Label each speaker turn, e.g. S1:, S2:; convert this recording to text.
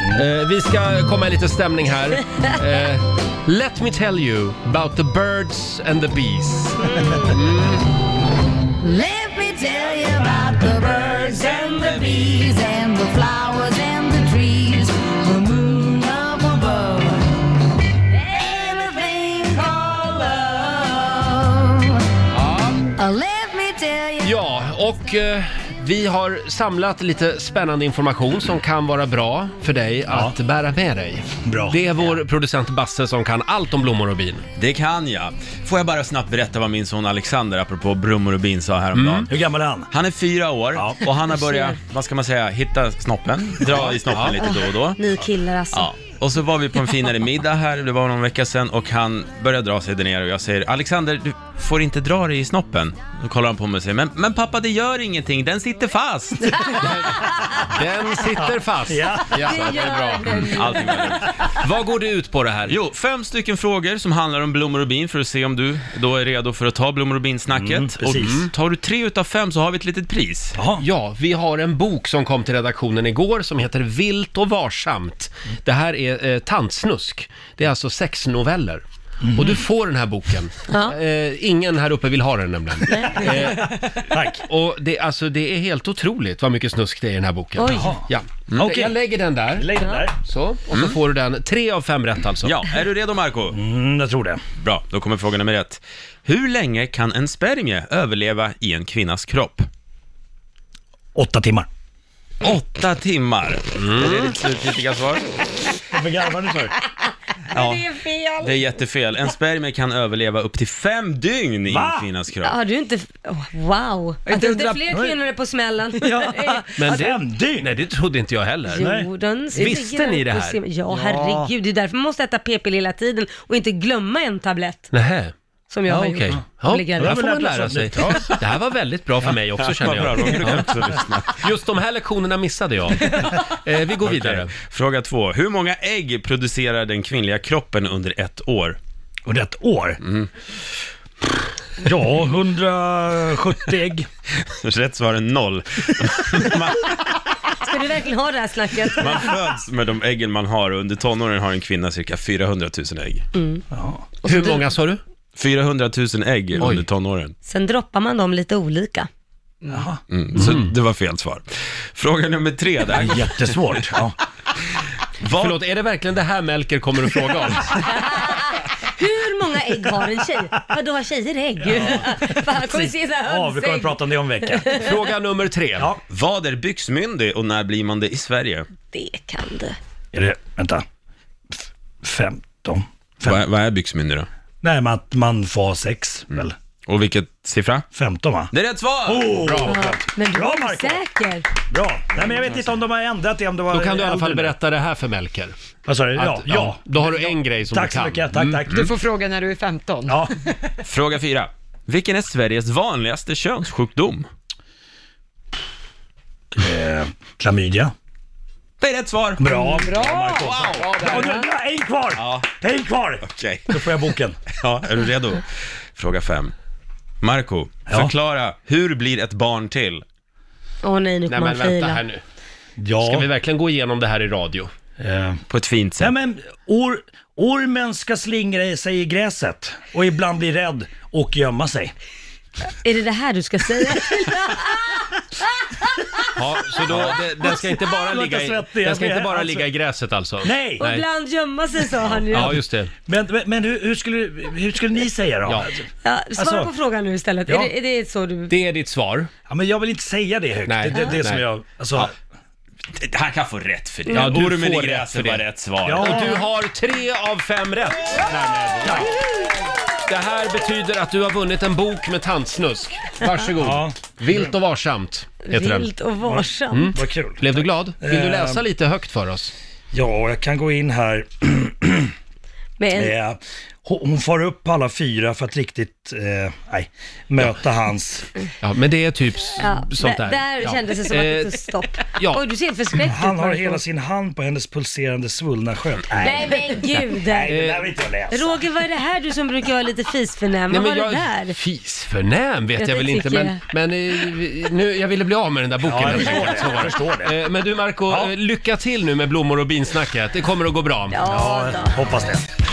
S1: Eh, vi ska komma i lite stämning här. Eh, let me tell you about the birds and the bees.
S2: Let me tell you about the birds and the bees and the flowers and the trees, the moon up above, and the thing called love. Uh, Let me tell you.
S1: Ja, och eh, vi har samlat lite spännande information som kan vara bra för dig att bära med dig.
S3: Bra.
S1: Det är vår producent Basse som kan allt om blommor och bin.
S4: Det kan jag. Får jag bara snabbt berätta vad min son Alexander, apropå brummor och bin, sa häromdagen.
S3: Hur gammal är han?
S4: Han är fyra år
S3: Mm. Ja.
S4: och han har börjat, vad ska man säga, hitta snoppen, dra i snoppen lite då och då.
S5: Ni killar alltså.
S4: Ja. Och så var vi på en finare middag här, det var någon vecka sedan, och han började dra sig där ner och jag säger Alexander, du får inte dra dig i snoppen. Då kollar han på mig och säger, men, men pappa det gör ingenting, den sitter fast.
S1: Den sitter fast.
S3: Ja.
S1: Ja, det är bra.
S4: Allting var lugnt.
S1: Vad går det ut på det här?
S4: Jo, fem stycken frågor som handlar om blommor och bin för att se om du då är redo för att ta blommor och bin-snacket.
S3: Mm, precis.
S4: och tar du tre utav fem så har vi ett litet pris.
S3: Jaha.
S1: Ja, vi har en bok som kom till redaktionen igår som heter Vilt och varsamt. Det här är eh, tantsnusk. Det är alltså sex noveller. Och du får den här boken.
S5: Ja.
S1: Eh, ingen här uppe vill ha den nämligen. Eh,
S3: Tack.
S1: och det, alltså, det är helt otroligt vad mycket snusk det är i den här boken.
S5: Oj.
S1: Ja.
S4: Mm. Okej. Mm.
S1: Jag lägger den där.
S3: Lägg den där.
S1: Så, och så får du den. Tre av fem rätt alltså.
S4: Ja, är du redo Marco?
S3: Mm, jag tror det.
S4: Bra, då kommer fråga nummer ett. Hur länge kan en spermie överleva i en kvinnas kropp?
S3: Åtta timmar.
S4: Åtta timmar.
S3: Mm.
S4: Är det ditt slutgiltiga svar?
S3: Varför garvar du för?
S4: Ja,
S5: Det är fel.
S4: det är jättefel. En spermie kan överleva upp till fem dygn i
S3: Va?
S4: en kvinnas kropp.
S5: Har du inte... åh, wow! Att
S4: inte
S5: inte
S4: undra-
S5: fler kvinnor är på smällen.
S1: Men det,
S3: Fem dygn?
S1: nej, det trodde inte jag heller.
S5: Jo, den
S1: Visste
S5: ligger
S1: ni det
S5: på
S1: här?
S5: sim- Ja, herregud. Det är därför man måste äta p-piller hela tiden och inte glömma en tablett,
S1: Nähä.
S5: som jag
S1: Ja,
S5: har
S1: okej.
S5: gjort.
S1: Ja,
S5: Och blir
S1: det här
S5: gravid.
S1: får man lära sig. Det här var väldigt bra för mig också känner
S4: Vad bra,
S1: jag.
S4: då kan du också lyssna.
S1: Just de här lektionerna missade jag. Eh, vi går vidare.
S4: Okej. Fråga två. Hur många ägg producerar den kvinnliga kroppen under ett år?
S3: Under ett år? Ja, 170 ägg.
S4: Rätt svar är noll.
S5: Ska du verkligen ha det här snacket?
S4: Man föds med de äggen man har och under tonåren har en kvinna cirka 400 000 ägg.
S1: Hur många sa du?
S4: 400 000 ägg under tonåren.
S5: Sen droppar man dem lite olika.
S4: Mm. Så det var fel svar. Fråga nummer tre där.
S3: Jättesvårt. Ja.
S4: Vad-
S1: Förlåt, är det verkligen det här Melker kommer att fråga om?
S5: Hur många ägg har en tjej? Vadå har tjejer ägg? Fan, jag kommer se så här
S3: ja, vi kommer
S5: hönsägg.
S3: att prata om det om en vecka.
S1: Fråga nummer tre.
S3: Ja.
S4: Vad är byxmyndig och när blir man det i Sverige?
S5: Det kan du.
S3: Är det, vänta, F- 15? Fem.
S4: Vad, vad är byxmyndig då?
S3: Nej, men att man får ha sex
S1: Mm.
S3: väl?
S4: Och vilket siffra?
S3: 15 va?
S4: Det är rätt svar!
S3: Bra,
S5: Men du
S3: Bra,
S5: är
S3: Marco.
S5: osäker.
S3: bra. Nej, men jag vet inte om de har ändrat det, om det var
S1: Då kan du i alla fall
S3: äldre.
S1: berätta det här för Melker.
S3: Vad sa du? Ja,
S1: Att,
S3: ja.
S1: Då har du en grej som
S3: Tack
S1: du kan. Mm.
S3: så mycket, tack, tack.
S6: Du får fråga när du är 15.
S3: Ja,
S4: Fråga fyra. Vilken är Sveriges vanligaste könssjukdom?
S3: eh, klamydia.
S4: Det är rätt svar!
S3: Bra,
S6: Bra!
S3: Ja, nu, nu, en kvar!
S4: Ja.
S3: En kvar!
S4: Okej.
S3: Då får jag boken.
S4: Ja, är du redo? Fråga fem. Marco,
S3: Ja.
S4: förklara, hur blir ett barn till?
S5: Åh nej, nu
S1: Nej
S5: kommer
S1: men
S5: han
S1: vänta här
S5: fejla.
S1: nu.
S3: Ja.
S1: Ska vi verkligen gå igenom det här i radio?
S3: eh,
S4: På ett fint
S3: Nej
S4: sätt.
S3: men, or, ormen ska slingra sig i gräset och ibland bli rädd och gömma sig.
S5: Är det det här du ska säga?
S1: Ja, så då, det, den ska inte bara
S3: Låter
S1: ligga i,
S3: svettig, jag
S1: den ska inte
S3: blir-
S1: bara
S3: alltså-
S1: ligga i gräset alltså?
S3: Nej!
S5: Och ibland gömma sig sa han ju.
S1: Ja,
S5: Ja,
S1: just det.
S3: Men, men, men hur, hur, skulle, hur skulle ni säga då?
S1: Ja.
S3: Ja.
S5: svara
S3: Alltså-
S5: på frågan nu istället.
S3: Ja.
S5: Är, det, är det så du...
S1: Det är ditt svar.
S3: men jag vill inte säga det högt.
S1: Nej.
S3: Det, det, det är som
S1: Nej.
S3: jag... Alltså,
S4: Han kan få rätt för det.
S1: Ja, du
S4: Ormen
S1: får
S4: i
S1: rätt för
S4: gräset
S1: det.
S4: var rätt svar.
S3: Ja.
S1: Och du har tre av fem rätt. därmed.
S3: Tack.
S1: Det här betyder att du har vunnit en bok med tantsnusk. Varsågod.
S3: Ja.
S1: Vilt och varsamt heter den. Mm.
S5: Vilt och varsamt.
S3: Vad kul.
S1: Blev du glad? Vill du
S3: Eh.
S1: läsa lite högt för oss?
S3: Ja, jag kan gå in här.
S5: Men
S3: Eh, ho- hon far upp på alla fyra för att riktigt, eh, nej, möta hans...
S1: Ja, men det är typ s-
S5: Ja,
S1: sånt
S5: där
S1: där.
S5: där
S1: ja.
S5: kändes det som att det
S1: Eh,
S5: tog stopp.
S1: ja.
S5: Oj, du ser helt förskräckt
S3: Han
S5: ut,
S3: har
S5: Marco.
S3: hela sin hand på hennes pulserande svullna sköld. Nej,
S5: Nej men gud!
S3: det där vill inte jag läsa.
S5: Eh, Roger, vad är det här du som brukar vara lite fisförnäm?
S1: Nej,
S5: Vad
S1: men
S5: var
S1: jag,
S5: det där?
S1: Fisförnäm vet
S5: Ja,
S1: jag,
S5: det
S1: väl inte,
S5: tycker
S1: men, men eh, nu, jag ville bli av med den där boken.
S3: Ja, jag
S1: helt
S3: förstår
S1: enkelt,
S3: det.
S1: så var
S3: Jag förstår det.
S1: Eh, Men du Marco,
S3: Ja.
S1: eh, lycka till nu med blommor och binsnacket. Det kommer att gå bra.
S5: Ja,
S3: Ja,
S5: då.
S3: hoppas det.